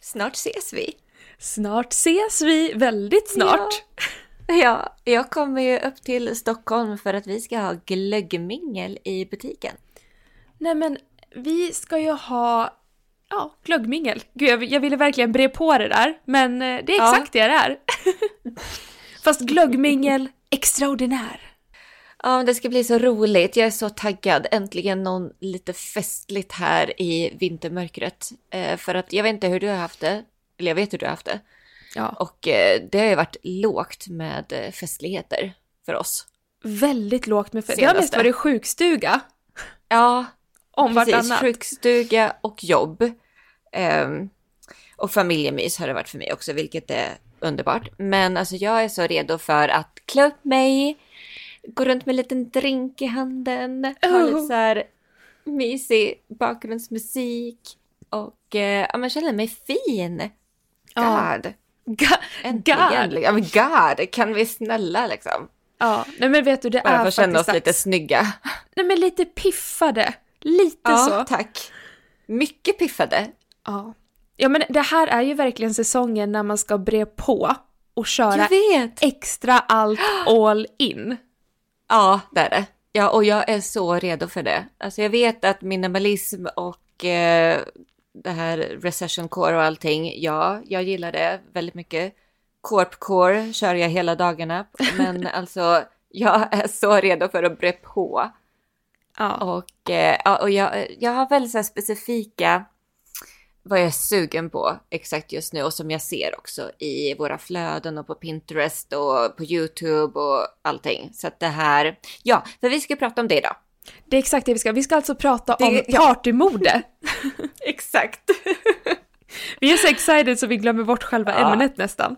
Snart ses vi! Snart ses vi, väldigt snart. Ja, jag kommer ju upp till Stockholm för att vi ska ha glöggmingel i butiken. Nej men, vi ska ju ha ja, glöggmingel. Gud, jag, jag ville verkligen bre på det där, men eh, det är Ja. exakt det det är. Fast glöggmingel extraordinär. Ja, men det ska bli så roligt. Jag är så taggad. Äntligen någon lite festligt här i vintermörkret. Eh, för att jag vet inte hur du har haft det. Eller jag vet hur du har haft det. Ja. Och eh, det har ju varit lågt med eh, festligheter för oss. Väldigt lågt med fest. Det har mest Senaste. varit sjukstuga. Ja, Om precis. vartannat. Sjukstuga och jobb. Ehm, och familjemys har det varit för mig också, vilket är underbart. Men alltså jag är så redo för att klä upp mig, gå runt med en liten drink i handen, ha Oh. lite så här mysig bakgrundsmusik och eh, ja, man känner mig fin. Ja. God! Ga- Äntligen! God. Ja, men God! Kan vi snälla liksom? Ja, nej men vet du det Bara är för att känna oss faktiskt lite dags. snygga. Nej men lite piffade. Lite så. Ja, tack. Mycket piffade. Ja. ja, men det här är ju verkligen säsongen när man ska bre på och köra Jag vet! extra allt all in. Ja, det är det. Ja, och jag är så redo för det. Alltså jag vet att minimalism och eh, det här recession core och allting, ja, jag gillar det väldigt mycket. Corp core kör jag hela dagarna, men alltså jag är så redo för att bre på. Ja. Och, eh, ja, och jag, jag har väldigt så här specifika vad jag är sugen på exakt just nu och som jag ser också i våra flöden och på Pinterest och på YouTube och allting. Så att det här, ja, för vi ska prata om det idag. Det är exakt det vi ska. Vi ska alltså prata Det- om ja. partymode. Exakt, Vi är så excited så vi glömmer bort själva Ja. ämnet nästan.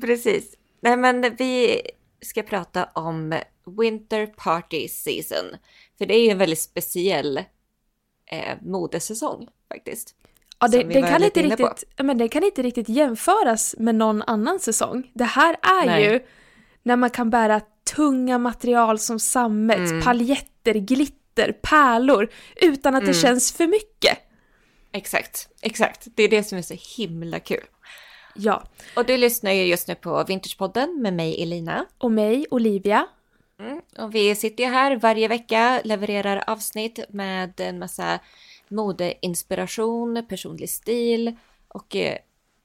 precis. Nej, men vi ska prata om Winter Party Season, för det är ju en väldigt speciell eh, modesäsong faktiskt. Ja, det, Som vi den, var kan lite inte inne på. riktigt, ja, men den kan inte riktigt jämföras med någon annan säsong. Det här är Nej. ju när man kan bära tunga material som sammet, paljetter, glitter, pärlor utan att det känns för mycket. Exakt, exakt. Det är det som är så himla kul. Ja, Och du lyssnar ju just nu på Vintagepodden med mig Elina. och mig, Olivia. Och vi sitter ju här varje vecka, levererar avsnitt med en massa modeinspiration, personlig stil och eh,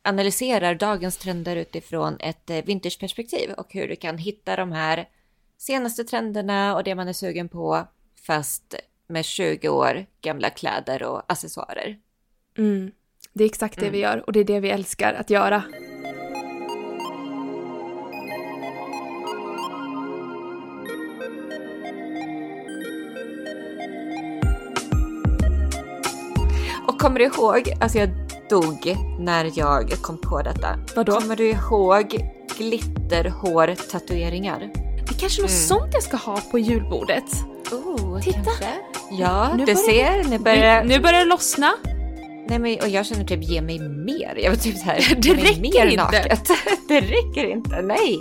analyserar dagens trender utifrån ett eh, vintageperspektiv och hur du kan hitta de här senaste trenderna och det man är sugen på fast med 20 år gamla kläder och accessoarer. Mm. Det är exakt det vi gör och det är det vi älskar att göra. Och kommer du ihåg, alltså jag dog när jag kom på detta. Vadå? Kommer du ihåg glitterhår-tatueringar? Det är kanske något sånt jag ska ha på julbordet. Oh, Titta! Ja, Nu du börjar- ser. Nu börjar... Nu, nu börjar det lossna. Nej, men, och jag känner typ ge mig mer. Jag vill typ så här, Det ge mig räcker mer inte. Naket. Det räcker inte, nej.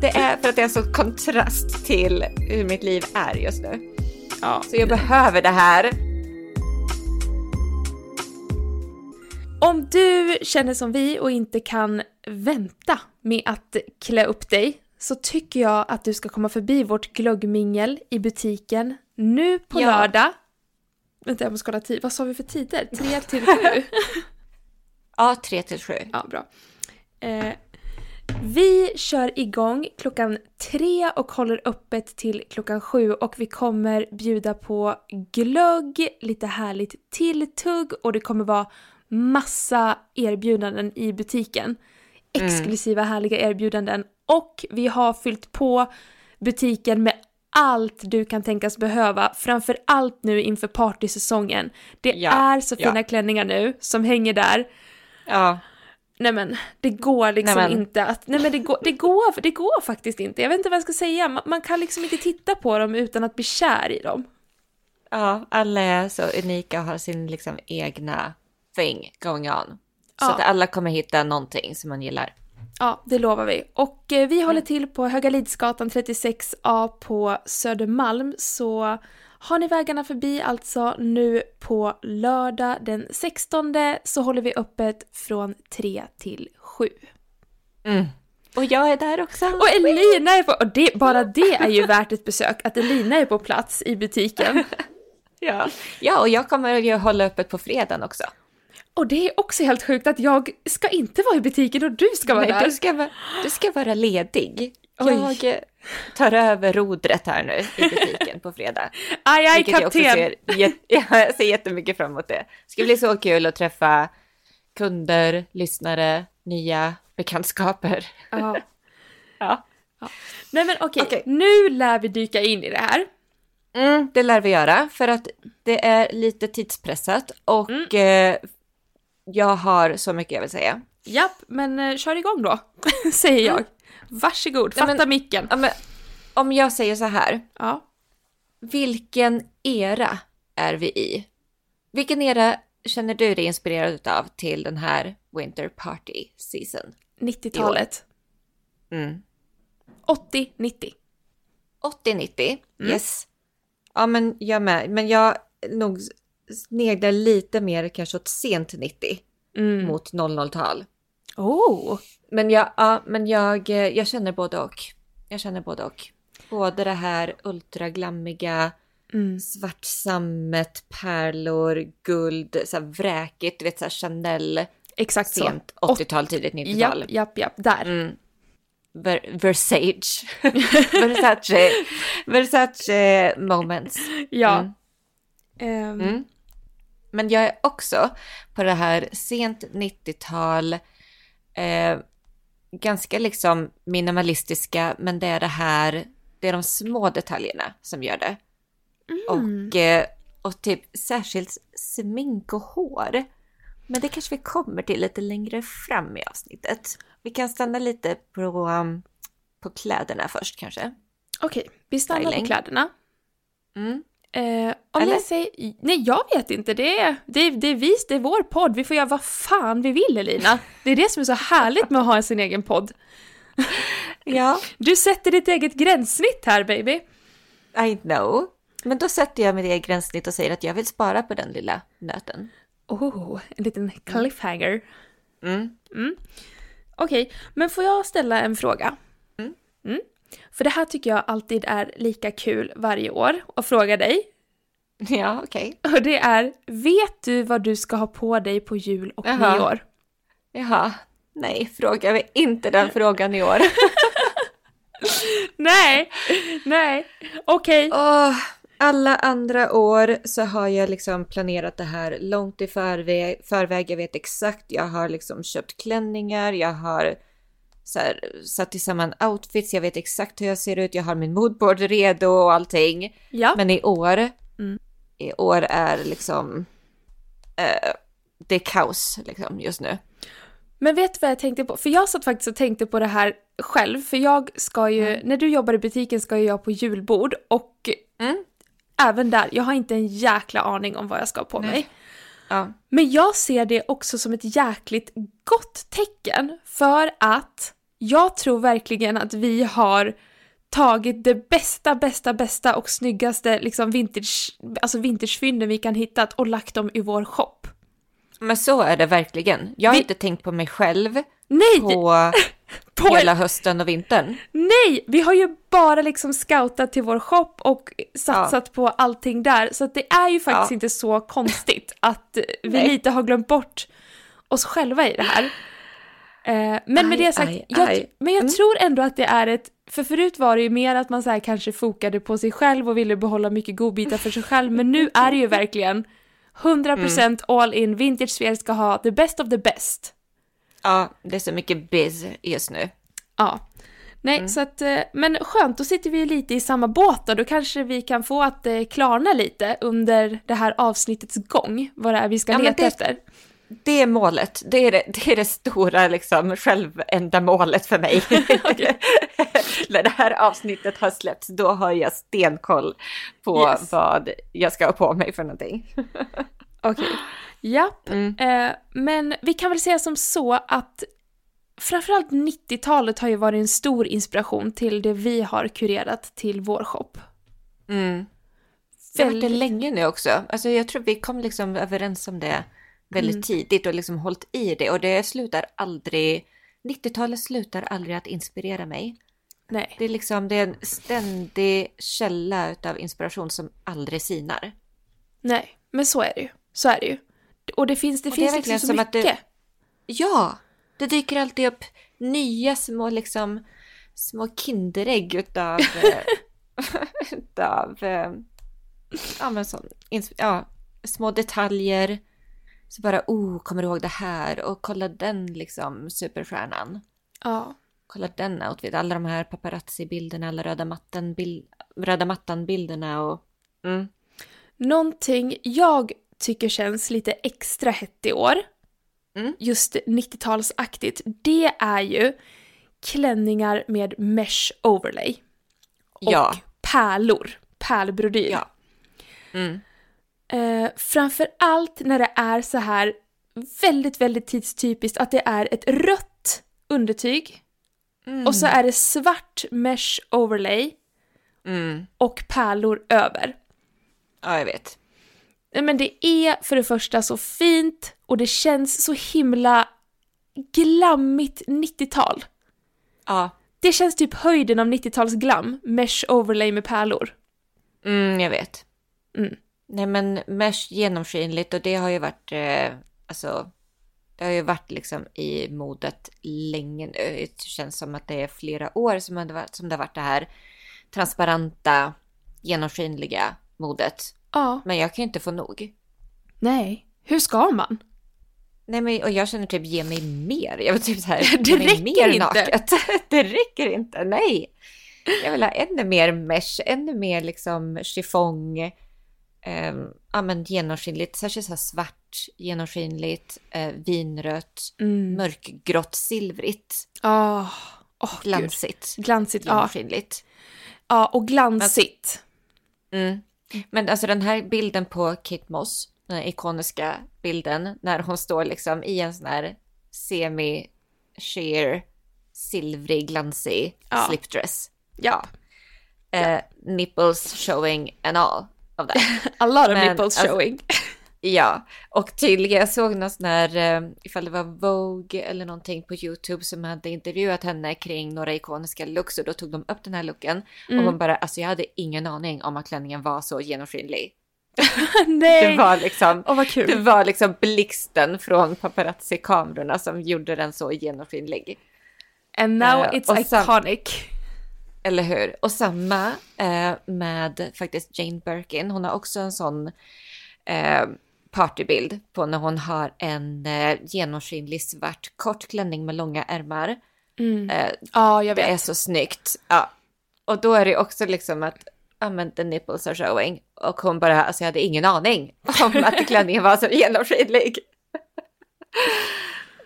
Det är för att det är så kontrast till hur mitt liv är just nu. Ja. Så jag behöver det här. Om du känner som vi och inte kan vänta med att klä upp dig så tycker jag att du ska komma förbi vårt glöggmingel i butiken nu på Ja. lördag. Vänta, jag måste kolla tid. Vad sa vi för tider? Tre till sju? Ja, 3 till 7. Ja, bra. Eh, vi kör igång klockan tre och håller öppet till klockan sju och vi kommer bjuda på glögg, lite härligt tilltugg och det kommer vara massa erbjudanden i butiken. Mm. Exklusiva härliga erbjudanden och vi har fyllt på butiken med allt du kan tänkas behöva, framför allt nu inför partysäsongen. Det Ja, är så ja. fina klänningar nu som hänger där. Ja. Nej men det går liksom Nej, men- inte att, nej men det går, det, går, det går faktiskt inte. Jag vet inte vad jag ska säga, man, man kan liksom inte titta på dem utan att bli kär i dem. Ja, alla är så unika och har sin liksom egna thing going on. Så Ja. att alla kommer hitta någonting som man gillar. Ja, det lovar vi. Och eh, vi håller till på Höga Lidsgatan 36A på Södermalm så Har ni vägarna förbi alltså nu på lördag den 16 så håller vi öppet från 3 till 7. Mm. Och jag är där också. Och Elina är på, och det, bara det är ju värt ett besök, att Elina är på plats i butiken. ja. ja, och jag kommer ju hålla öppet på fredagen också. Och det är också helt sjukt att jag ska inte vara i butiken och du ska vara Nej, där. Du ska, vara- du ska vara ledig. Oj. Jag eh, tar över rodret här nu i butiken på fredag. Aj, aj, Vilket jag också kapten! ser, jät- jag ser jättemycket fram emot det. Det ska bli så kul att träffa kunder, lyssnare, nya bekantskaper. Ja. Ja. Nej men okej, Okej. nu lär vi dyka in i det här. Mm, det lär vi göra för att det är lite tidspressat och Mm. eh, jag har så mycket jag vill säga. Japp, men eh, kör igång då, säger jag. Varsågod, Mm. Nej, fatta men- micken. Ja, men, om jag säger så här, Ja. vilken era är vi i? Vilken era känner du dig inspirerad utav till den här Winter Party Season? 90-talet. Mm. 80, 90. 80-90, yes. Ja men jag med, men jag nog sneglar lite mer kanske åt sent 90 Mm. mot 00-tal. Oh! Men, jag, ja, men jag, eh, jag känner både och. Jag känner både och. Både det här ultraglammiga, Mm. svart sammet, pärlor, guld, så här vräkigt, du vet så här Chanel, Exakt så. sent 80-tal, tidigt 90-tal. Japp, japp, japp. Där. Mm. Ver- Versace. Versace. Versace moments. Ja. Mm. Ehm, Mm. Men jag är också på det här sent 90-tal, eh, ganska liksom minimalistiska, men det är det här, det är de små detaljerna som gör det. Och, eh, och typ särskilt smink och hår. Men det kanske vi kommer till lite längre fram i avsnittet. Vi kan stanna lite på, um, på kläderna först kanske. Okej, vi stannar Styling. på kläderna. Mm. Eh, om Eller? jag säger... Nej, jag vet inte. Det är, det, är, det är vi, det är vår podd. Vi får göra vad fan vi vill, Elina. Det är det som är så härligt med att ha sin egen podd. Ja, Du sätter ditt eget gränssnitt här, baby. I know. Men då sätter jag mig det i gränssnitt och säger att jag vill spara på den lilla nöten. Oh, en liten cliffhanger. Mm. Okej, men får jag ställa en fråga? Mm. För det här tycker jag alltid är lika kul varje år och fråga dig. Ja, okej. Och det är, vet du vad du ska ha på dig på jul och Jaha. nyår? Jaha. Nej, frågar vi inte den frågan i år. Nej, nej, okej. Åh, alla andra år så har jag liksom planerat det här långt i förväg. förväg. Jag vet exakt, jag har liksom köpt klänningar, jag har så här, satt tillsammans outfits, jag vet exakt hur jag ser ut, jag har min moodboard redo och allting. Ja, Men i år, Mm. i år är liksom, eh, det är kaos liksom just nu. men vet du vad jag tänkte på? För jag satt faktiskt och tänkte på det här själv, för jag ska ju, när du jobbar i butiken ska ju jag på julbord och Mm. även där, jag har inte en jäkla aning om vad jag ska ha på Nej. mig. Ja. Men jag ser det också som ett jäkligt gott tecken för att jag tror verkligen att vi har tagit det bästa, bästa, bästa och snyggaste liksom vintage, alltså vintagefynden vi kan hitta och lagt dem i vår shop. Men så är det verkligen. Jag har Vi- inte tänkt på mig själv Nej! på på, hela hösten och vintern. nej! Vi har ju bara liksom scoutat till vår shop och satsat på allting där så att det är ju faktiskt Ja. inte så konstigt att vi Nej. lite har glömt bort oss själva i det här. Eh, men med Aj, det sagt, aj, jag, aj. Men jag Mm. tror ändå att det är ett, för förut var det ju mer att man så här kanske fokade på sig själv och ville behålla mycket godbitar för sig själv, men nu är det ju verkligen Mm. 100% all in, vintagewear ska ha the best of the best. Ja, det är så mycket biz just nu. Ja. Nej, Mm. så att, eh, men skönt, då sitter vi ju lite i samma båt och då kanske vi kan få att eh, klarna lite under det här avsnittets gång, vad det är vi ska Ja, men leta det- efter. Det är målet. Det är det, det, är det stora liksom, självändamålet för mig. När det här avsnittet har släppts, då har jag stenkoll på Yes. vad jag ska ha på mig för någonting. Okej. Japp. Mm. Eh, men vi kan väl säga som så att framförallt 90-talet har ju varit en Mm. stor inspiration till det vi har kurerat till vår shop. Vi har varit det länge nu också. Alltså jag tror vi kom liksom överens om det väldigt Mm. tidigt och liksom hållit i det. Och det slutar aldrig... 90-talet slutar aldrig att inspirera mig. Nej. Det är liksom det är en ständig källa utav inspiration som aldrig sinar. Nej, men så är det ju. Så är det ju. Och det finns, det Och det är finns verkligen liksom så som att det- mycket. Ja! Det dyker alltid upp nya små liksom små kinderägg utav eh, utav eh, ja men sån, ins- ja, små detaljer. Så bara oh, kommer du ihåg det här? Och kolla den liksom superstjärnan. Ja. Kolla den outfit, alla de här paparazzi-bilderna, alla röda, mattan bil- röda mattan-bilderna och... Mm. Någonting jag tycker känns lite extra hett i år, Mm. just 90-talsaktigt, det är ju klänningar med mesh overlay. Och Ja. pärlor, pärlbrodyr. Ja. Mm. Eh, framför allt när det är så här väldigt, väldigt tidstypiskt att det är ett rött undertyg Mm. och så är det svart mesh overlay Mm. och pärlor över. Ja, jag vet. Nej, men det är för det första så fint och det känns så himla glammigt 90-tal. Ja. Det känns typ höjden av 90-talsglam, mesh overlay med pärlor. Mm, jag vet. Mm. Nej, men mesh genomskinligt och det har ju varit... Eh, alltså, det har ju varit liksom i modet länge nu. Det känns som att det är flera år som det, har varit- som det har varit det här transparenta, genomskinliga modet. Ja. Men jag kan ju inte få nog. Nej. Hur ska man? Nej, men, och jag känner typ ge mig mer. Jag vill typ så här, Det ge mig räcker mer inte. naket. Det räcker inte, nej. Jag vill ha ännu mer mesh, ännu mer liksom chiffong. ehm, ja, men genomskinligt, särskilt så här svart, genomskinligt, eh, vinrött, Mm. mörkgrått, silvrigt, Ah. Åh, gud. glansigt, Glansigt, ja. genomskinligt. Ja, och glansigt. Mm. Men alltså den här bilden på Kate Moss, den här ikoniska bilden när hon står liksom i en sån här semi sheer silvrig glansig Ja. slipdress. Ja. Eh, nipples showing and all of that. A lot of Men, nipples alltså- showing. ja, och tydligen, jag såg någon sån här, eh, ifall det var Vogue eller någonting på YouTube som hade intervjuat henne kring några ikoniska looks och då tog de upp den här looken Mm. och hon bara, alltså jag hade ingen aning om att klänningen var så genomskinlig. Det Nej! Åh, var liksom vad kul. Det var liksom blixten från paparazzi-kamerorna som gjorde den så genomskinlig. And now Eh, it's och sen- iconic. Eller hur? Och samma eh, med faktiskt Jane Birkin. Hon har också en sån eh, partybild på när hon har en eh, genomskinlig svart kort klänning med långa ärmar. Mm. Eh, Ja, jag det vet. är så snyggt. Ja. Och då är det också liksom att ja men the nipples are showing. Och hon bara, alltså jag hade ingen aning om att klänningen var så genomskinlig.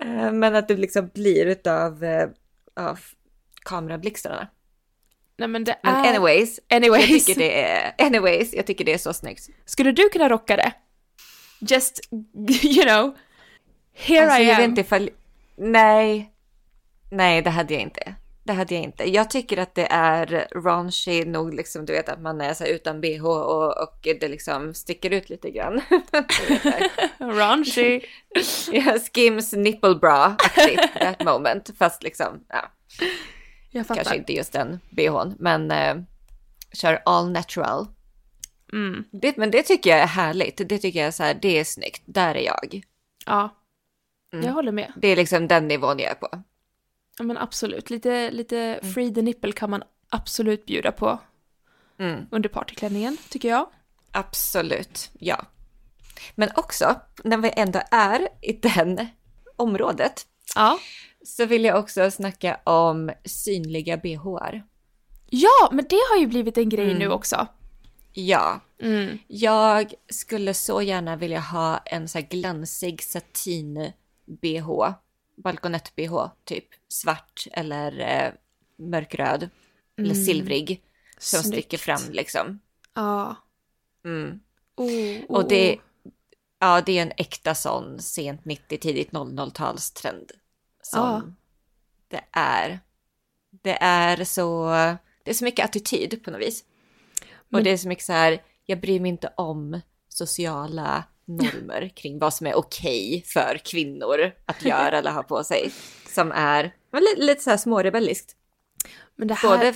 Eh, men att det liksom blir utav eh, av kamerablixtarna. Nej, men det Men är... anyways, jag Anyways. tycker det är, anyways, jag tycker det är så snyggt. Skulle du kunna rocka det? Just, you know. Here Alltså, I jag am. vet inte ifall... Nej. Nej, det hade jag inte. Det hade jag inte. Jag tycker att det är raunchy nog, liksom, du vet att man är så här utan bh och, och det liksom sticker ut lite grann. Raunchy. Ja, Skims nipple bra aktigt that moment. Fast liksom, ja, Jag fattar. kanske inte just den bhn, men eh, kör all natural. Mm. Det, men det tycker jag är härligt. Det tycker jag är så här, det är snyggt. Där är jag. Ja. Mm. Jag håller med. Det är liksom den nivån jag är på. Ja, men absolut. Lite, lite free the nipple kan man absolut bjuda på Mm. under partyklänningen, tycker jag. Absolut, ja. Men också, när vi ändå är i den området, Ja. så vill jag också snacka om synliga bhar. Ja, men det har ju blivit en Mm. grej nu också. Ja, Mm. jag skulle så gärna vilja ha en så här glansig satin-bh, balkonett-bh, typ svart eller eh, mörkröd eller silvrig som Snyggt. sticker fram liksom. Ja. Mm. Oh, oh, Och det, oh. ja, det är en äkta sån sent 90, tidigt 00-talstrend. Som Ja. det är. Det är så, det är så mycket attityd på något vis. Men- Och det är så mycket så här, jag bryr mig inte om sociala normer kring vad som är okej för kvinnor att göra eller ha på sig. Som är men li- lite så här smårebelliskt. Men det här, Både,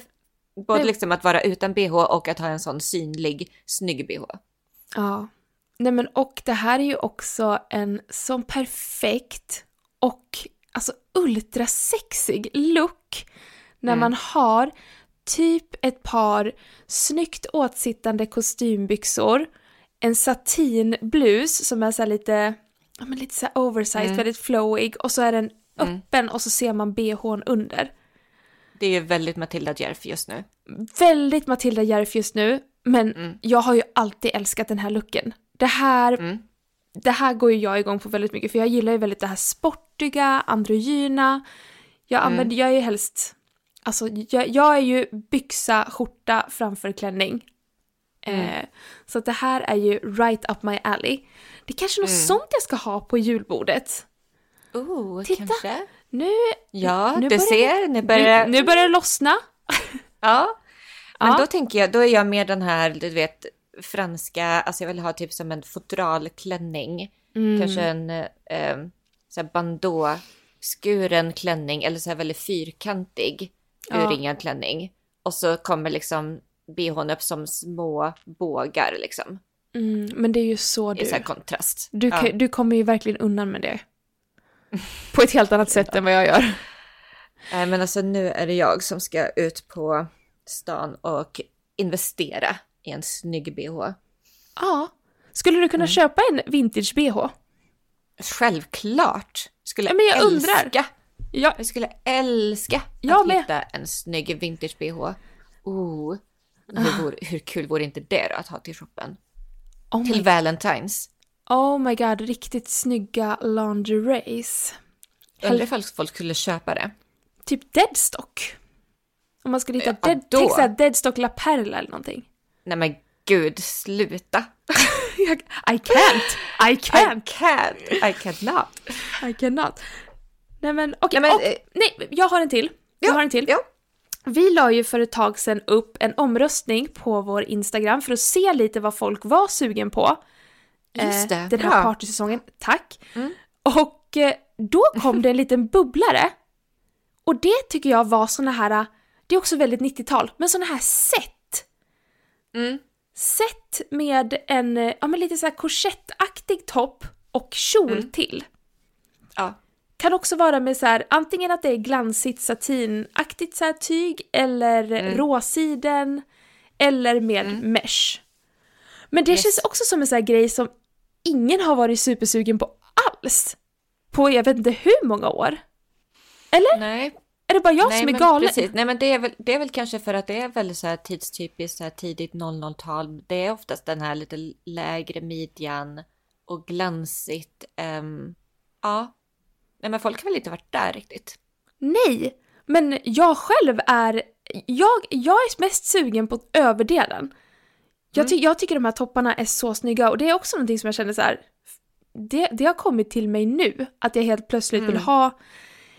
både Men- liksom att vara utan bh och att ha en sån synlig, snygg bh. ja. Nej men och det här är ju också en sån perfekt och alltså ultrasexig look när Mm. man har typ ett par snyggt åtsittande kostymbyxor, en satinblus som är så här lite, ja men lite så här oversized, Mm. väldigt flowig och så är den Mm. öppen och så ser man bhn under. Det är ju väldigt Matilda Djerf just nu. väldigt Matilda Järf just nu, men Mm. jag har ju alltid älskat den här looken. Det här, Mm. det här går ju jag igång på väldigt mycket, för jag gillar ju väldigt det här sportiga, androgyna. Jag Mm. använder, jag är ju helst, alltså jag, jag är ju byxa, skjorta framför klänning. Mm. Eh, så att det här är ju right up my alley. Det är kanske något Mm. sånt jag ska ha på julbordet. Oh, Titta. kanske. Nu, Ja, du Nu börjar- ser, nu börjar... nu, nu börjar det lossna. Ja. Men Ja. då tänker jag, då är jag mer den här, du vet, franska, alltså jag vill ha typ som en fodralklänning. Mm. Kanske en eh, så här bandåskuren klänning eller så här väldigt fyrkantig Ja. urringad klänning. Och så kommer liksom bhn upp som små bågar liksom. Mm, men det är ju så du. I så här kontrast. Du, ja. kan- du kommer ju verkligen undan med det. På ett helt annat sätt än vad jag gör. Eh, Men alltså nu är det jag som ska ut på stan och investera i en snygg bh. Ja. Skulle du kunna Mm. köpa en vintage-bh? Självklart! Skulle Ja, men jag älska. undrar. Ja. Jag skulle älska Jag att med. hitta en snygg vintage bh. Oh, Ah. hur, vore, hur kul vore inte det då att ha till shoppen? Oh Till my, Valentine's. oh my god, riktigt snygga lingeries. Undrar ifall folk skulle köpa det. Typ deadstock. Om man skulle hitta Ja, dead, då. tänk såhär deadstock la perla eller någonting. Nej men gud, sluta! Jag- I can't! I I can't! can't! I cannot! I cannot. Nej men okej, Nej, men, och- eh, nej, jag har en till. Jag ja, har en till. ja. Vi la ju för ett tag sedan upp en omröstning på vår Instagram för att se lite vad folk var sugen på. Eh, Just det, den här bra. partysäsongen. Tack. Mm. Och eh, då kom det en liten bubblare. Och det tycker jag var såna här, eh, det är också väldigt 90-tal, men såna här set. Mm. Set med en, eh, ja men lite så här korsettaktig topp och kjol Mm. till. Ja. Kan också vara med så här, antingen att det är glansigt satinaktigt så här tyg eller Mm. råsiden eller med mesh. Men det Yes. känns också som en så här grej som ingen har varit supersugen på alls. På jag vet inte hur många år. Nej, Är det bara jag nej, som är men galen? Precis. Nej men det är, väl, det är väl kanske för att det är väl så här tidstypiskt så här tidigt 00-tal. Det är oftast den här lite lägre midjan och glansigt. ehm, ja. Nej men folk har väl inte varit där riktigt. Nej, men jag själv är... Jag, jag är mest sugen på överdelen. Jag, ty, jag tycker de här topparna är så snygga och det är också någonting som jag känner så här. Det, det har kommit till mig nu, att jag helt plötsligt vill ha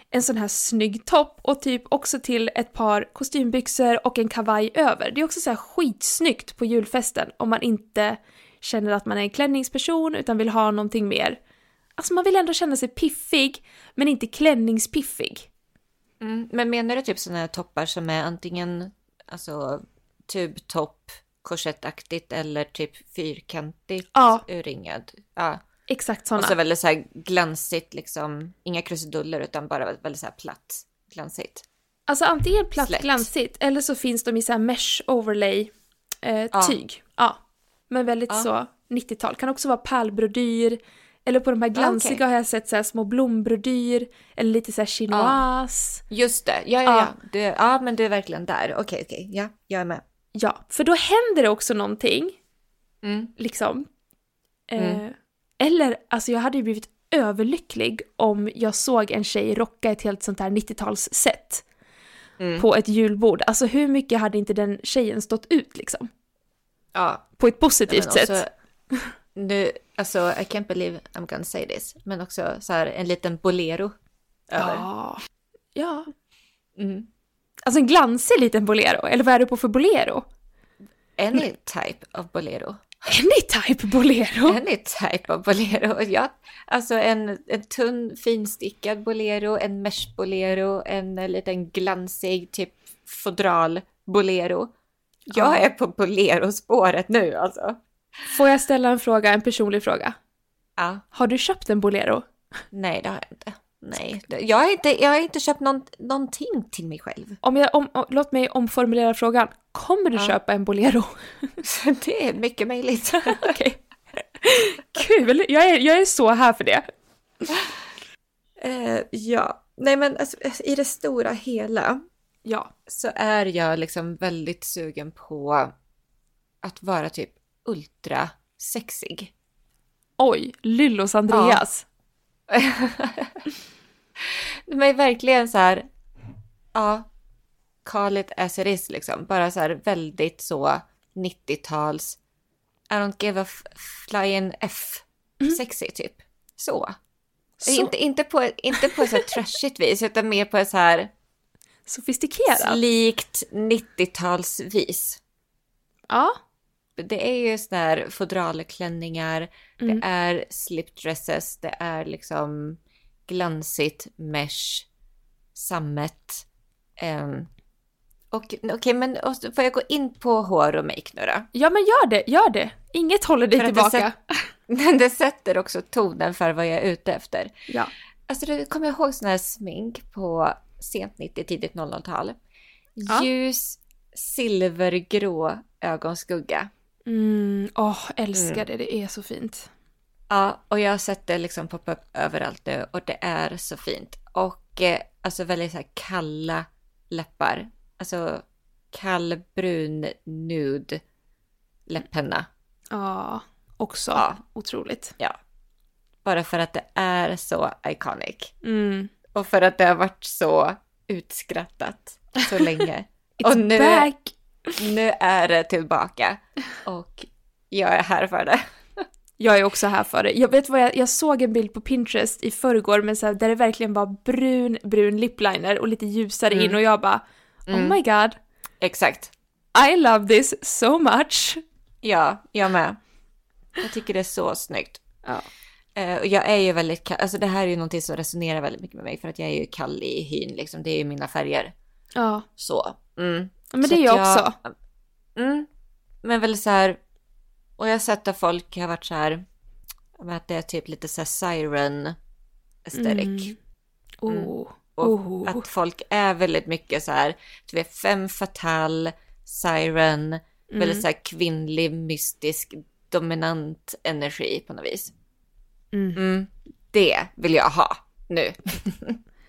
en sån här snygg topp och typ också till ett par kostymbyxor och en kavaj över. Det är också så här skitsnyggt på julfesten om man inte känner att man är en klänningsperson utan vill ha någonting mer. Alltså man vill ändå känna sig piffig men inte klänningspiffig. Mm, men menar du typ sådana här toppar som är antingen alltså, tubtopp, korsettaktigt eller typ fyrkantigt Ja. urringad? Ja. Exakt Och såna. så väldigt så här glansigt liksom, inga krusiduller utan bara väldigt så här platt glansigt. Alltså antingen platt Slätt. glansigt eller så finns de i så här mesh overlay eh, Ja. tyg. Ja. Men väldigt Ja. så 90-tal. Kan också vara pärlbrodyr. Eller på de här glansiga okej. har jag sett så här små blombrodyr. Eller lite så här chinoise. Just det, ja ja ja. Du, ja men du är verkligen där. Okej okej, ja jag är med. Ja, för då händer det också någonting. Mm. Liksom. Eh, Mm. eller, alltså jag hade ju blivit överlycklig om jag såg en tjej rocka ett helt sånt här 90-talsset. Mm. På ett julbord. Alltså hur mycket hade inte den tjejen stått ut liksom? Ja, På ett positivt men alltså, också- sätt. Nu, alltså I can't believe I'm gonna say this. Men också så här en liten bolero över. Ja. ja. Mm. Alltså en glansig liten bolero, eller vad är du på för bolero? Any type of bolero. Any type bolero. Any type av bolero. Ja, alltså en, en tunn finstickad bolero, en mesh bolero, en liten glansig typ fodral bolero. Jag Ja. är på bolero-spåret nu alltså. Får jag ställa en fråga, en personlig fråga? Ja, Har du köpt en bolero? nej det har jag inte. Nej, det- jag har inte, jag har inte köpt någon, någonting till mig själv. Om jag, om, om, låt mig omformulera frågan. Kommer du Ja. köpa en bolero? Så det är mycket möjligt. Okej. Kul! Jag är, jag är så här för det. Eh, ja, nej men alltså, i det stora hela Ja. så är jag liksom väldigt sugen på att vara typ ultra sexig. Oj, Lyllos Andreas. Men verkligen så här, ja, call it as it is liksom. Bara så här väldigt så 90-tals, I don't give a f- flying F, sexig typ. Så. Så Inte, inte på, inte på så här trashigt vis, utan mer på ett så här sofistikerad. slikt 90-talsvis. Ja. det är ju såna här fodralklänningar, Mm. det är slipdresses, det är liksom glansigt mesh, sammet. ehm, och okej, men och, så får jag gå in på hår och make nu då? ja, men gör det, gör det. Inget håller dig För att tillbaka. jag Men det sätter också tonen för vad jag är ute efter. Ja. Alltså, du kommer jag ihåg sån här smink på sent 90, tidigt 00-tal? Ja. Ljus silvergrå ögonskugga. Mm, åh, älskar Mm. det. Det är så fint. Ja, och jag har sett det liksom poppa upp överallt nu och det är så fint. Och eh, alltså väldigt så här kalla läppar. Alltså kall brun nude läppenna. Ja, också Ja. otroligt. Bara för att det är så iconic. Mm. Och för att det har varit så utskrattat så länge. It's Och nu- back! nu är det tillbaka och jag är här för det. Jag är också här för det. Jag vet vad jag, jag såg en bild på Pinterest i förrgår men så här, där det verkligen var brun, brun lipliner och lite ljusare Mm. in och jag bara Mm. Oh my god, Exakt. I love this so much! Ja, jag med. Jag tycker det är så snyggt. Ja. Eh, och jag är ju väldigt kall, alltså det här är ju någonting som resonerar väldigt mycket med mig för att jag är ju kall i hyn liksom, det är ju mina färger. Ja, Så. Mm. men Så det är att jag också. Mm. Men väl så här, och jag har sett att folk har varit så här, men att det är typ lite så här siren aesthetic. Mm. Mm. Oh. Och Oh. Att folk är väldigt mycket så här, du vet fem fatal, siren, väldigt så här kvinnlig, mystisk, dominant energi på något vis. Mm. Mm, det vill jag ha nu.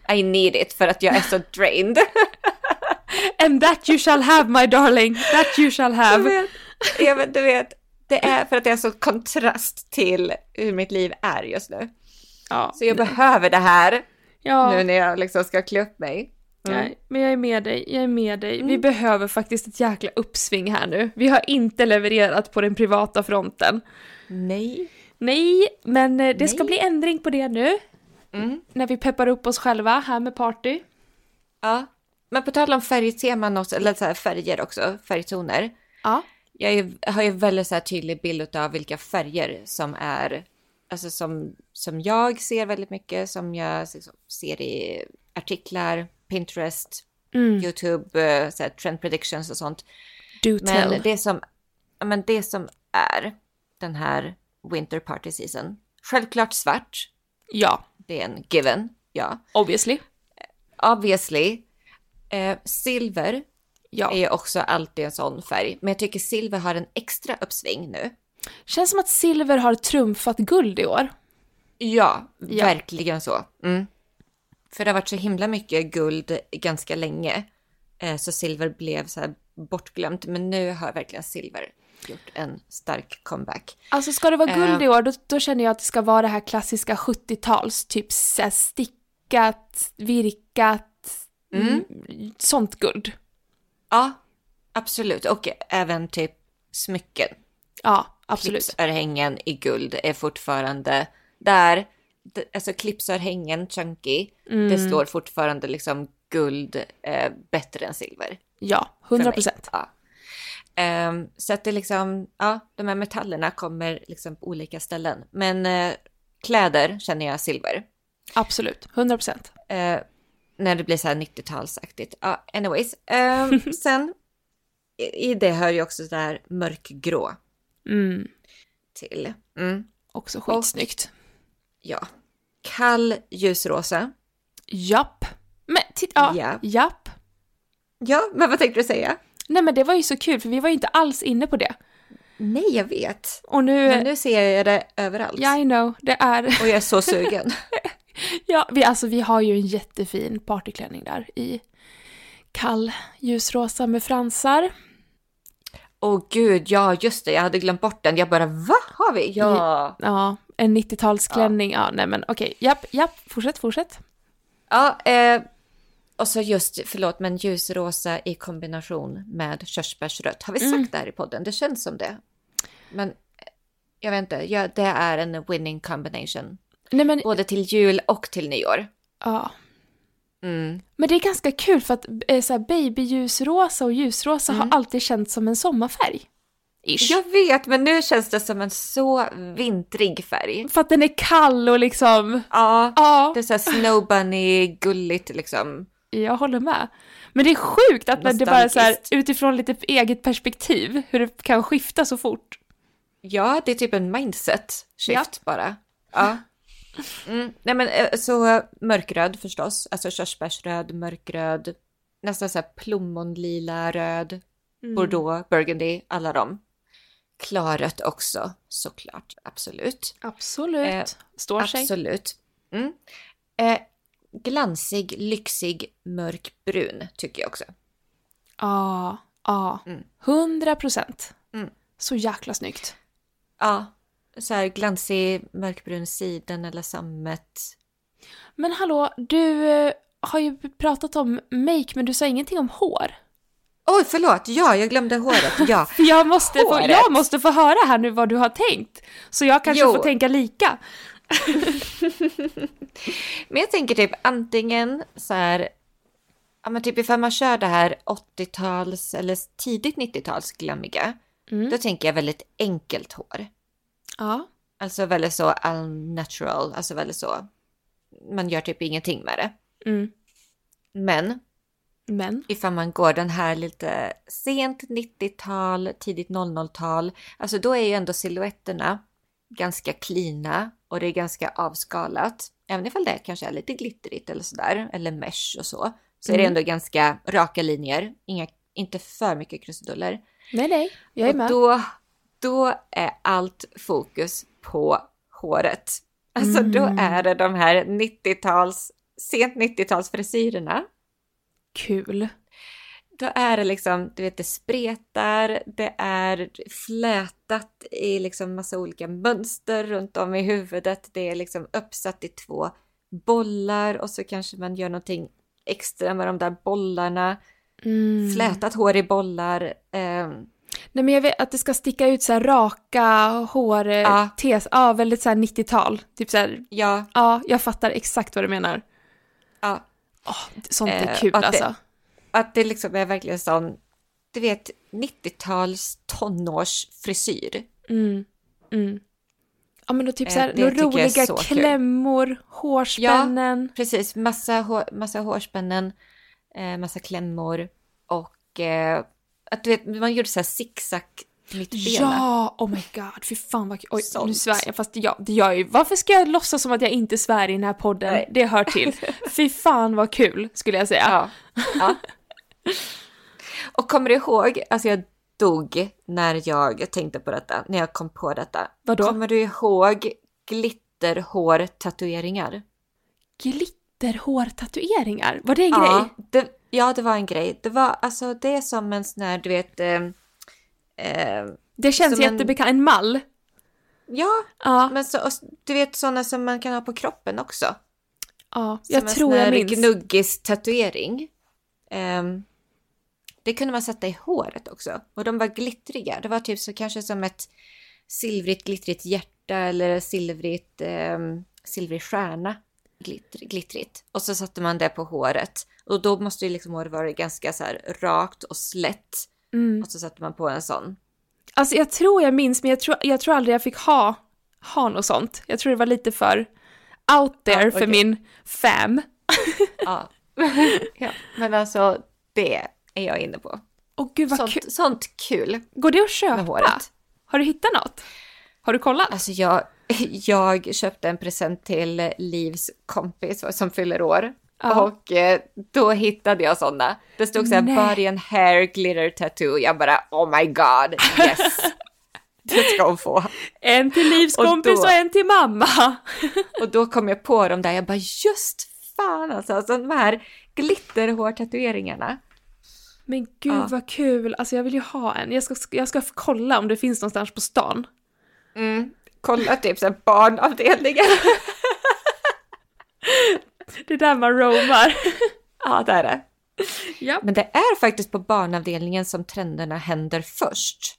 I need it för att jag är så drained. And that you shall have my darling, that you shall jag have. vet, jag vet, du vet, det är för att jag är så kontrast till hur mitt liv är just nu. Ja, Så jag behöver det här ja. nu när jag liksom ska klä upp mig. Mm. Nej, men jag är med dig, jag är med dig. Vi behöver faktiskt ett jäkla uppsving här nu. Vi har inte levererat på den privata fronten. Nej. Nej, men eh, det ska Nej. bli ändring på det nu. Mm. När vi peppar upp oss själva här med party. Ja. Men på tal om färgteman också, eller så här färger också, färgtoner. Ja. jag är, har ju väldigt så här tydlig bild av vilka färger som är, alltså som, som jag ser väldigt mycket, som jag liksom ser i artiklar, Pinterest, Mm. YouTube, eh, så här trend predictions och sånt. Do tell. Men det, som, ja, men det som är den här winter party season, självklart svart, Ja, det är en given, ja. obviously. Obviously. Eh, silver Ja. är ju också alltid en sån färg, men jag tycker silver har en extra uppsving nu. Känns som att silver har trumfat guld i år. Ja, Ja. verkligen så. Mm. För det har varit så himla mycket guld ganska länge. Eh, Så silver blev så här bortglömt. Men nu har verkligen silver gjort en stark comeback. Alltså ska det vara Eh. guld i år, då, då känner jag att det ska vara det här klassiska 70-tals, typ så här stickat, virkat, Mm. mm, sånt guld. Ja, absolut. Och även typ smycken. Ja, absolut. Clipsörhängen i guld är fortfarande där. D- Alltså clipsörhängen, chunky, det Mm. står fortfarande liksom guld eh, bättre än silver. Ja, för 100 mig. procent. Ja. Ehm, så att det liksom, ja, de här metallerna kommer liksom på olika ställen. Men eh, kläder känner jag silver. Absolut, 100%. Eh, när det blir så här 90-talsaktigt. Ja, anyways. Ehm, sen, i, i det hör ju också så här mörkgrå Mm. till. Mm, Också skitsnyggt. ja. Kall ljusrosa. Japp. Men titta, ja. Japp. Japp. Ja, men vad tänkte du säga? Nej men det var ju så kul för vi var ju inte alls inne på det. Nej, jag vet. Och nu... Men nu ser jag det överallt. Ja, I know, det är... Och jag är så sugen. Ja, vi, alltså, vi har ju en jättefin partyklänning där i kall ljusrosa med fransar. Åh gud, ja just det, jag hade glömt bort den. Jag bara, va? Har vi? Ja. Ja, en 90-talsklänning. Ja. nej men okej. Japp, japp, fortsätt, fortsätt. Ja, eh, och så just, förlåt, men ljusrosa i kombination med körsbärsrött. Har vi sagt det här i podden? Det känns som det. Men eh, jag vet inte, ja, det är en winning combination. Nej men, Både till jul och till nyår. ja. Mm. Men det är ganska kul för att eh, så här, babyljusrosa och ljusrosa har alltid känts som en sommarfärg. Ish. Jag vet, men nu känns det som en så vintrig färg. För att den är kall och liksom, Ja, ja. det är så här snow bunny gulligt liksom. Jag håller med. Men det är sjukt att man, det bara så här, Nostalgiskt. utifrån lite eget perspektiv, hur det kan skifta så fort. Ja, det är typ en mindset Ja. shift bara. Ja. Mm. Nej men eh, så eh, mörkröd förstås, alltså körsbärsröd, mörkröd, nästan så här plommonlila röd, bordeaux, burgundy, alla dem. Klarrött också såklart, absolut. Absolut. Eh, Står sig. Absolut. Mm. Eh, glansig, lyxig, mörkbrun tycker jag också. Ja, ja. Mm. Hundra procent. Mm. Så jäkla snyggt. Ja, så här glansig, mörkbrun siden eller sammet. Men hallå, du eh, har ju pratat om make men du sa ingenting om hår. Oj, förlåt! Ja, jag glömde håret. Ja. För jag måste, få, Håret? jag måste få höra här nu vad du har tänkt. Så jag kanske Jo. får tänka lika. Men jag tänker typ antingen så här, ja men typ ifall man kör det här 80-tals eller tidigt 90-tals glammiga, Mm. då tänker jag väldigt enkelt hår. Ja. Alltså väldigt så all natural, alltså väldigt så, man gör typ ingenting med det. Mm. Men Men. ifall man går den här lite sent 90-tal, tidigt 00-tal, alltså då är ju ändå silhuetterna ganska cleana och det är ganska avskalat. Även ifall det kanske är lite glittrigt eller sådär, eller mesh och så, så är det Mm. ändå ganska raka linjer, inga, inte för mycket krusiduller. Nej, nej. Jag är Och med. då, då är allt fokus på håret. Alltså då Mm. är det de här 90-tals, sent 90-tals frisyrerna Kul. då är det liksom, du vet det spretar, det är flätat i liksom massa olika mönster runt om i huvudet. Det är liksom uppsatt i två bollar och så kanske man gör någonting extra med de där bollarna. Mm. Flätat hår i bollar. ehm, Nej men jag vet att det ska sticka ut så här raka hår, ja. Ja. tes, ja väldigt så här 90-tal. Typ så här, ja, ja jag fattar exakt vad du menar. ja. Åh, sånt är Eh, kul att det- alltså. Att det liksom är verkligen sån, du vet 90-tals tonårsfrisyr. Mm. Mm. Ja men då typ Eh, så här, det några tycker jag är roliga så kul. klämmor, hårspännen. Precis, massa, hår, massa hårspännen, eh, massa klämmor och eh, att du vet, man gjorde så här zigzag mittbena. Ja, oh my god, fy fan vad kul. Oj, nu Sånt. svär jag, fast ja, det gör jag ju. Varför ska jag låtsas som att jag inte svär i den här podden? Nej. Det hör till. fy fan vad kul, skulle jag säga. Ja. ja. och kommer du ihåg, alltså jag dog när jag tänkte på detta, när jag kom på detta. Vadå? Kommer du ihåg glitterhårtatueringar? Glitterhårtatueringar, var det en Ja, grej? det, ja, det var en grej. Det var alltså det är som en sån här, du vet, eh, eh, Det känns Som en- jättebekant, en mall. ja, Ja, men så, och s- du vet sådana som man kan ha på kroppen också. ja som jag en tror sån här jag minns. gnuggis tatuering. Ehm, det kunde man sätta i håret också. Och de var glittriga. Det var typ så kanske som ett silvrigt glittrigt hjärta eller silvrigt, ehm, silvrig stjärna. Glitter, glittrigt. Och så satte man det på håret. Och då måste ju liksom håret vara ganska så här rakt och slätt. Mm. Och så satte man på en sån. Alltså jag tror jag minns, men jag tror, jag tror aldrig jag fick ha, ha något sånt. Jag tror det var lite för out there Ja, för okej. min fam. Ja. ja. Men alltså det är jag inne på. Åh gud vad kul. Sånt, sånt kul Går det att köpa? med håret. Har du hittat något? Har du kollat? Alltså jag, jag köpte en present till Livs kompis som fyller år. Ja. Och eh, då hittade jag sådana. Det stod såhär Nej. body and hair glitter tattoo. Jag bara oh my god yes. det ska hon få. En till Livs Och kompis då- och en till mamma. Och då kom jag på dem där. Jag bara just fan alltså. alltså de här glitterhårtatueringarna. Men gud Ja. vad kul, alltså jag vill ju ha en. Jag ska, jag ska kolla om det finns någonstans på stan. Mm. Kolla typ såhär barnavdelningen. Det är där man roamar. ja det är det. ja. Men det är faktiskt på barnavdelningen som trenderna händer först.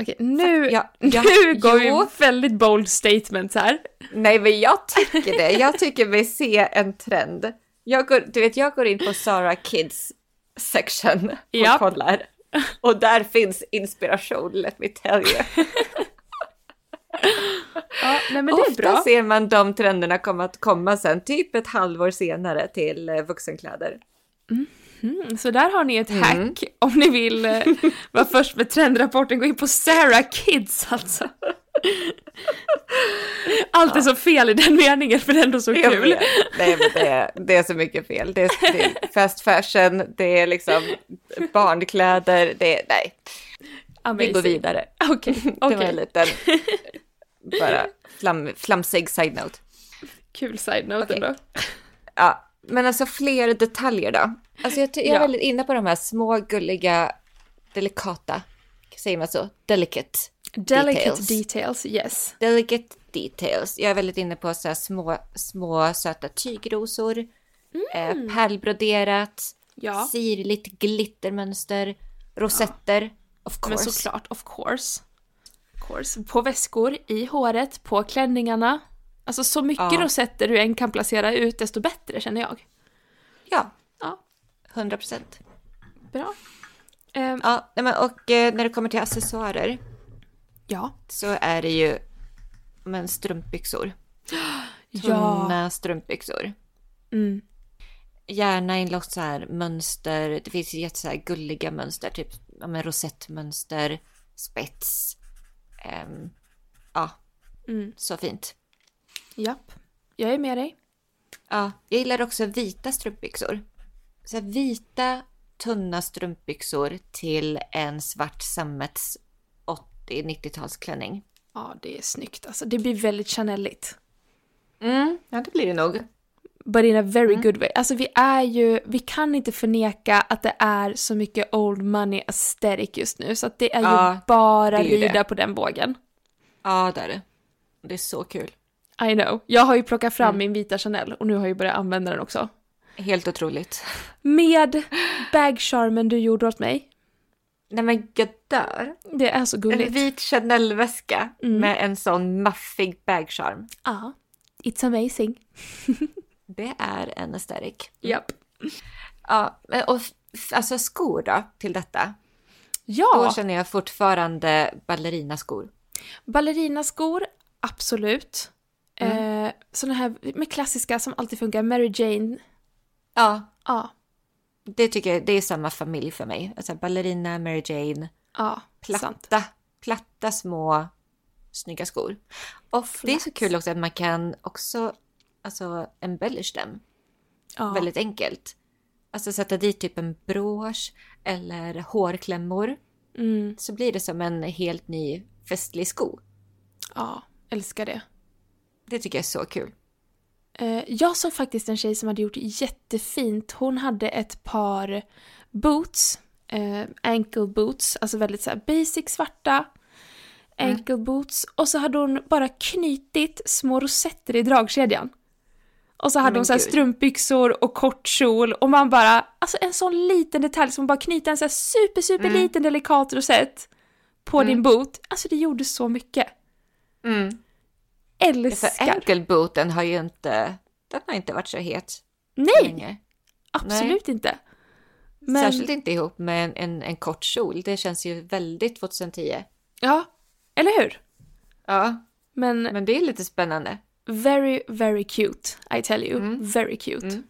Okej, nu, Ja, ja, nu går jo. vi väldigt bold statements här. Nej men jag tycker det. Jag tycker mig se en trend. Jag går, du vet jag går in på Sara Kids section och Japp. kollar. Och där finns inspiration, let me tell you. Ja, nej men det är Ofta bra. ser man de trenderna komma att komma sen, typ ett halvår senare till eh, vuxenkläder. Mm, så där har ni ett hack om ni vill eh, vara först med trendrapporten. Gå in på Sarah Kids alltså. Allt är så fel i den meningen för det är ändå så Jag kul. vet. Nej, men det, är- det är så mycket fel. Det är, det är fast fashion, det är liksom barnkläder, det är, nej, vi går Amazing. vidare. Okej, Det var okej. en liten, bara flam, flamsig side-note. Kul side-note Okej. ändå. Ja, men alltså fler detaljer då? Alltså jag, ty- jag är Ja. väldigt inne på de här små, gulliga, delikata, säger man så? Delicate. Delicate Details. details, yes. Delicate details. Jag är väldigt inne på så här små, små söta tygrosor, eh, pärlbroderat, Ja. sirligt glittermönster, rosetter. Of Men course. såklart, of course. Of course. På väskor, i håret, på klänningarna. Alltså så mycket Ja. rosetter du än kan placera ut, desto bättre känner jag. Ja, Ja, 100 procent. bra. Ehm, Ja, nej men, och eh, när det kommer till accessoarer ja. så är det ju men strumpbyxor. Ja. Tunna strumpbyxor. Mm. Gärna i något så här mönster. Det finns ju jätte så här gulliga mönster. Typ ja, men rosettmönster, spets. Ehm, ja, Mm. så fint. Japp. Jag är med dig. Ja, jag gillar också vita strumpbyxor. Så här vita tunna strumpbyxor till en svart sammets 80-90-talsklänning. Ja, det är snyggt alltså. Det blir väldigt Chaneligt. Mm, ja det blir det nog. But in a very good way. Alltså vi är ju, vi kan inte förneka att det är så mycket old money aesthetic just nu. Så att det är ju Ja, bara det är ju rida det. på den vågen. Ja, det är det. Det är så kul. I know. Jag har ju plockat fram min vita Chanel och nu har jag ju börjat använda den också. Helt otroligt. Med bagcharmen du gjorde åt mig. Nej men jag dör. Det är så En gulligt. vit Chanel-väska med en sån maffig bagcharm. Ja. It's amazing. Det är en aesthetic. Japp. Ja, men och f- f- alltså skor då till detta. Då Ja, känner jag fortfarande ballerinaskor. ballerinaskor, absolut. Eh, såna här med klassiska som alltid funkar, Mary Jane. Ja, Ja, det tycker jag, det är samma familj för mig. Alltså ballerina, Mary Jane, ja, platta, sant. platta små snygga skor. Och det är så kul också att man kan också alltså embellish dem Ja. väldigt enkelt. Alltså sätta dit typ en brosch eller hårklämmor. Mm, så blir det som en helt ny festlig sko. ja, älskar det. Det tycker jag är så kul. Eh, jag såg faktiskt en tjej som hade gjort jättefint. Hon hade ett par boots, eh, ankle boots, alltså väldigt så här basic svarta Mm. ankle boots. Och så hade hon bara knutit små rosetter i dragkedjan. Och så hade Men hon så här gud. strumpbyxor och kort kjol och man bara, alltså en sån liten detalj som bara knyta en så här super, super Mm. liten delikat rosett på din boot. Alltså det gjorde så mycket. Mm. För Älskar! enkelboten har ju inte, den har inte varit så het Nej! länge. Absolut inte. Men, Särskilt inte ihop med en, en, en kort kjol. Det känns ju väldigt 2010. Ja, eller hur? Ja, Men, men det är lite Mm. spännande. very, very cute, I tell you. Mm. Very cute. Mm.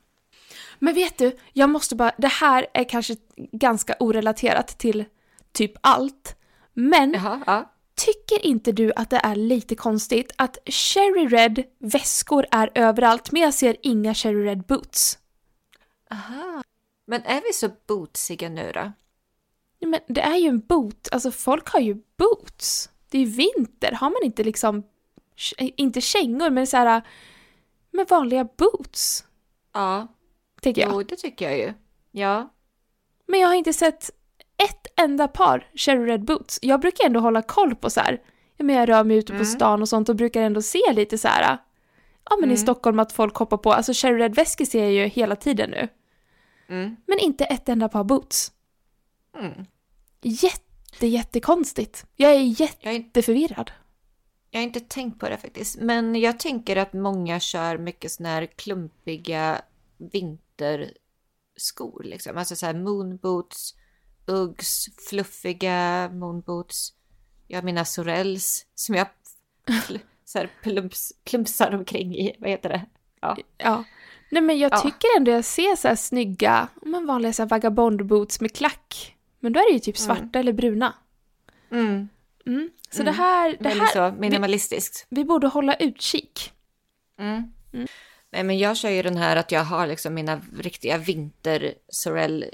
Men vet du, jag måste bara, det här är kanske ganska orelaterat till typ allt. Men Jaha, ja. Tycker inte du att det är lite konstigt att Cherry Red väskor är överallt men jag ser inga Cherry Red boots? Aha. Men är vi så bootsiga nu då? Nej, Men det är ju en boot, alltså folk har ju boots. Det är ju vinter, har man inte liksom, inte kängor men så här, med vanliga boots, Ja, tänker jag. jo det tycker jag ju. Ja, Men jag har inte sett ett enda par Cherry Red boots. Jag brukar ändå hålla koll på så här, ja, men jag rör mig ute på Mm. stan och sånt och brukar ändå se lite så här, ja men i Mm. Stockholm att folk hoppar på, alltså Cherry Red väskor ser jag ju hela tiden nu. mm. Men inte ett enda par boots. Mm. Jätte, jättekonstigt. Jag är Jag, har in- jätteförvirrad. jag har inte tänkt på det faktiskt. Men jag tänker att många kör mycket såna här klumpiga vinterskor. Liksom. Alltså så här moonboots, Uggs, fluffiga moonboots. Jag har mina Sorells som jag pl- så här plumps, plumpsar omkring i. Vad heter det? Ja. Nej men jag Ja. tycker ändå jag ser så här snygga, men vanliga så här vagabondboots med klack. Men då är det ju typ svarta eller bruna. Mm. Mm. Så Mm. det här, det Väldigt här, så minimalistiskt. vi borde hålla utkik. Mm. Nej, men jag kör ju den här att jag har liksom mina riktiga vinter sorell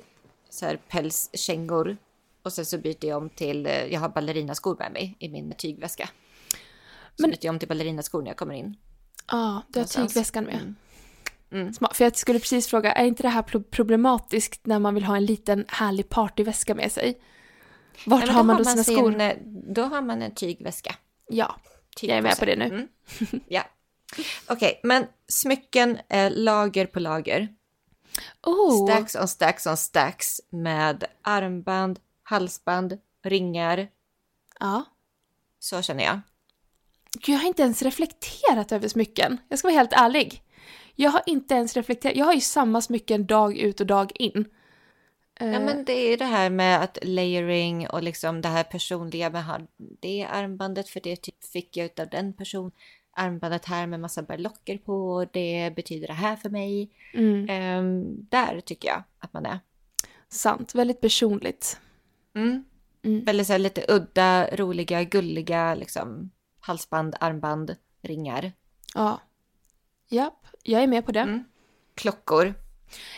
så här pälskängor och sen så byter jag om till, eh, jag har ballerinaskor med mig i min tygväska. Så Men- byter jag om till ballerinaskor när jag kommer in. Ja, du har Någonstans. tygväskan med. Mm. Mm. Smart. För jag skulle precis fråga, är inte det här pro- problematiskt när man vill ha en liten härlig partyväska med sig? Vart Nej, men har man då sina skor? sin, eh, Då har man en tygväska. Ja, jag är med Tygpåse. på det nu. Mm. Ja. Okej, men smycken eh, lager på lager. Oh. Stacks on stacks on stacks med armband, halsband, ringar. Ja. Så känner jag. Gud, jag har inte ens reflekterat över smycken. Jag ska vara helt ärlig. Jag har inte ens reflekterat. Jag har ju samma smycken dag ut och dag in. Eh, Ja, men det är det här med att layering och liksom det här personliga med har det armbandet för det typ fick jag utav den personen. Armbandet här med massa berlocker på och det betyder det här för mig. mm, Ehm, där tycker jag att man är. sant. Väldigt personligt. Mm. Mm. Väldigt så här, lite udda, roliga, gulliga liksom halsband, armband, ringar, Ja. Japp, jag är med på det. Mm. klockor.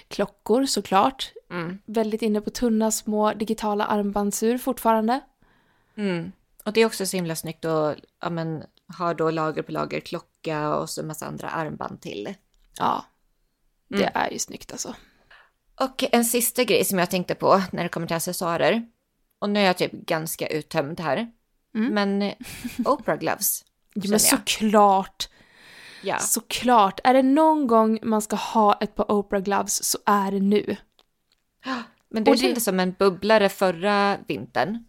Klockor såklart. Mm. Väldigt inne på tunna små digitala armbandsur fortfarande. Mm. Och det är också så himla snyggt att ja, men, ha då lager på lager klocka och så massa andra armband till. Ja. Det Mm. är ju snyggt alltså. Och en sista grej som jag tänkte på när det kommer till accessoarer. Och nu är jag typ ganska uttömd här. Mm. Men Oprah gloves. Jo, känner men jag. såklart! Ja. Såklart! Är det någon gång man ska ha ett par Oprah Gloves så är det nu. Men det, Och det- kändes som en bubblare förra vintern.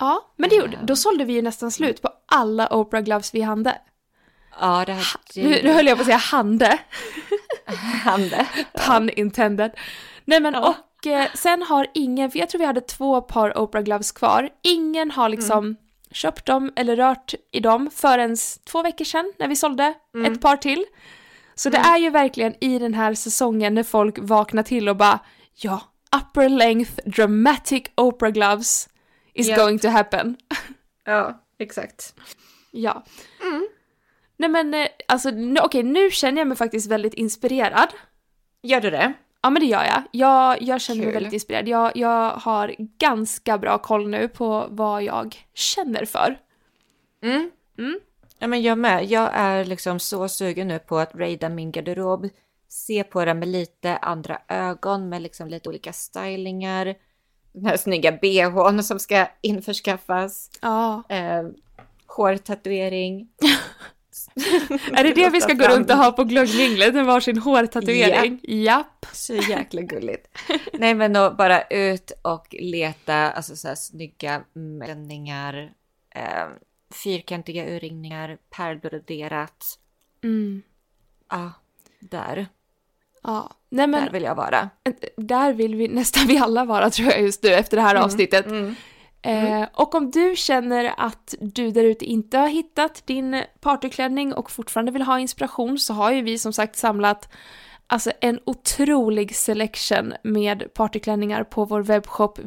Ja, men det Eh. gjorde, då sålde vi ju nästan slut på alla Oprah Gloves vi hade. Ja, det här... Nu, nu höll jag på att säga hande, hände. pun intended. Nej men och eh, sen har ingen, för jag tror vi hade två par Oprah Gloves kvar, ingen Mm. har liksom köpt dem eller rört i dem förrän två veckor sedan när vi sålde Mm. ett par till. Så det är ju verkligen i den här säsongen när folk vaknar till och bara ja, upper length dramatic Oprah Gloves is Ja. going to happen. Ja, exakt. Ja. Mm. Nej men eh, alltså nu, okej nu känner jag mig faktiskt väldigt inspirerad. Gör du det? Ja men det gör jag. Jag, jag känner mig Kul. väldigt inspirerad. Jag, jag har ganska bra koll nu på vad jag känner för. Mm. Mm. Ja, men jag med. Jag är liksom så sugen nu på att raida min garderob. Se på den med lite andra ögon, med liksom lite olika stylingar. Den här snygga bhn som ska införskaffas. Ja. Eh, hårtatuering. Är det det vi ska gå runt och ha på glöggminglet? En varsin hårtatuering? Japp. Så jäkla gulligt. Nej men då bara ut och leta, alltså så här snygga klänningar, eh, fyrkantiga urringningar, pärlbroderat. Mm. Ja, där. Ja. Nej men eh, Där vill jag vara. där vill vi nästan vi alla vara tror jag just nu efter det här avsnittet. Eh, och om du känner att du där ute inte har hittat din partyklänning och fortfarande vill ha inspiration så har ju vi som sagt samlat alltså, en otrolig selection med partyklänningar på vår webbshop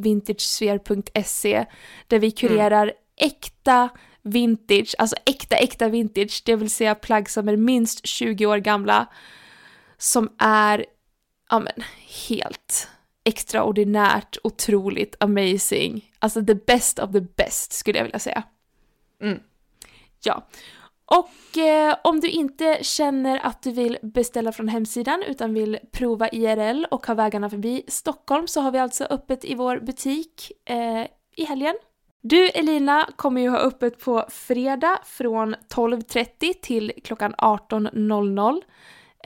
vintagesphere.se där vi kurerar äkta vintage, alltså äkta äkta vintage, det vill säga plagg som är minst 20 år gamla som är ja men, helt extraordinärt, otroligt, amazing. Alltså the best of the best skulle jag vilja säga. Mm. Ja. Och eh, om du inte känner att du vill beställa från hemsidan utan vill prova IRL och ha vägarna förbi Stockholm så har vi alltså öppet i vår butik eh, i helgen. Du Elina kommer ju ha öppet på fredag från 12.30 till klockan 18.00. Eh,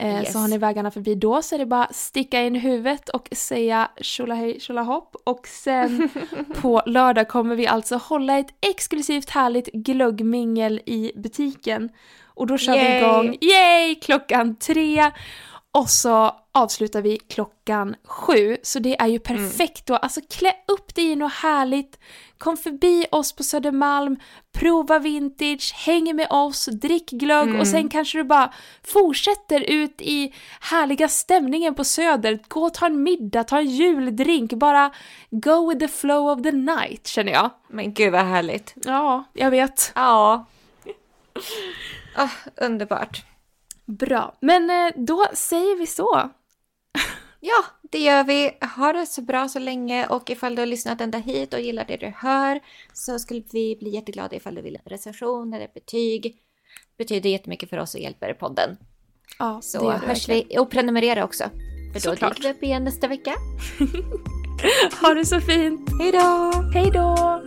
Yes. Så har ni vägarna förbi då så är det bara sticka in huvudet och säga tjolahej tjolahopp och sen på lördag kommer vi alltså hålla ett exklusivt härligt glöggmingel i butiken. Och då kör vi Yay! igång, yay, klockan tre! Och så avslutar vi klockan sju, så det är ju perfekt då. Alltså klä upp dig i något härligt, kom förbi oss på Södermalm, prova vintage, häng med oss, drick glögg och sen kanske du bara fortsätter ut i härliga stämningen på Söder. Gå och ta en middag, ta en juldrink, bara go with the flow of the night känner jag. Men gud vad härligt. Ja, jag vet. Ja. Ah, underbart. Bra. Men eh, då säger vi så. Ja, det gör vi. Ha det så bra så länge och ifall du har lyssnat ända hit och gillar det du hör så skulle vi bli jätteglada ifall du vill ha en recension eller ett betyg. Betyder jättemycket för oss och hjälper podden. Ja, det Så gör vi hörs verkligen. vi och prenumerera också. För då Såklart. dyker vi upp igen nästa vecka. Ha det så fint. Hej då! Hej då!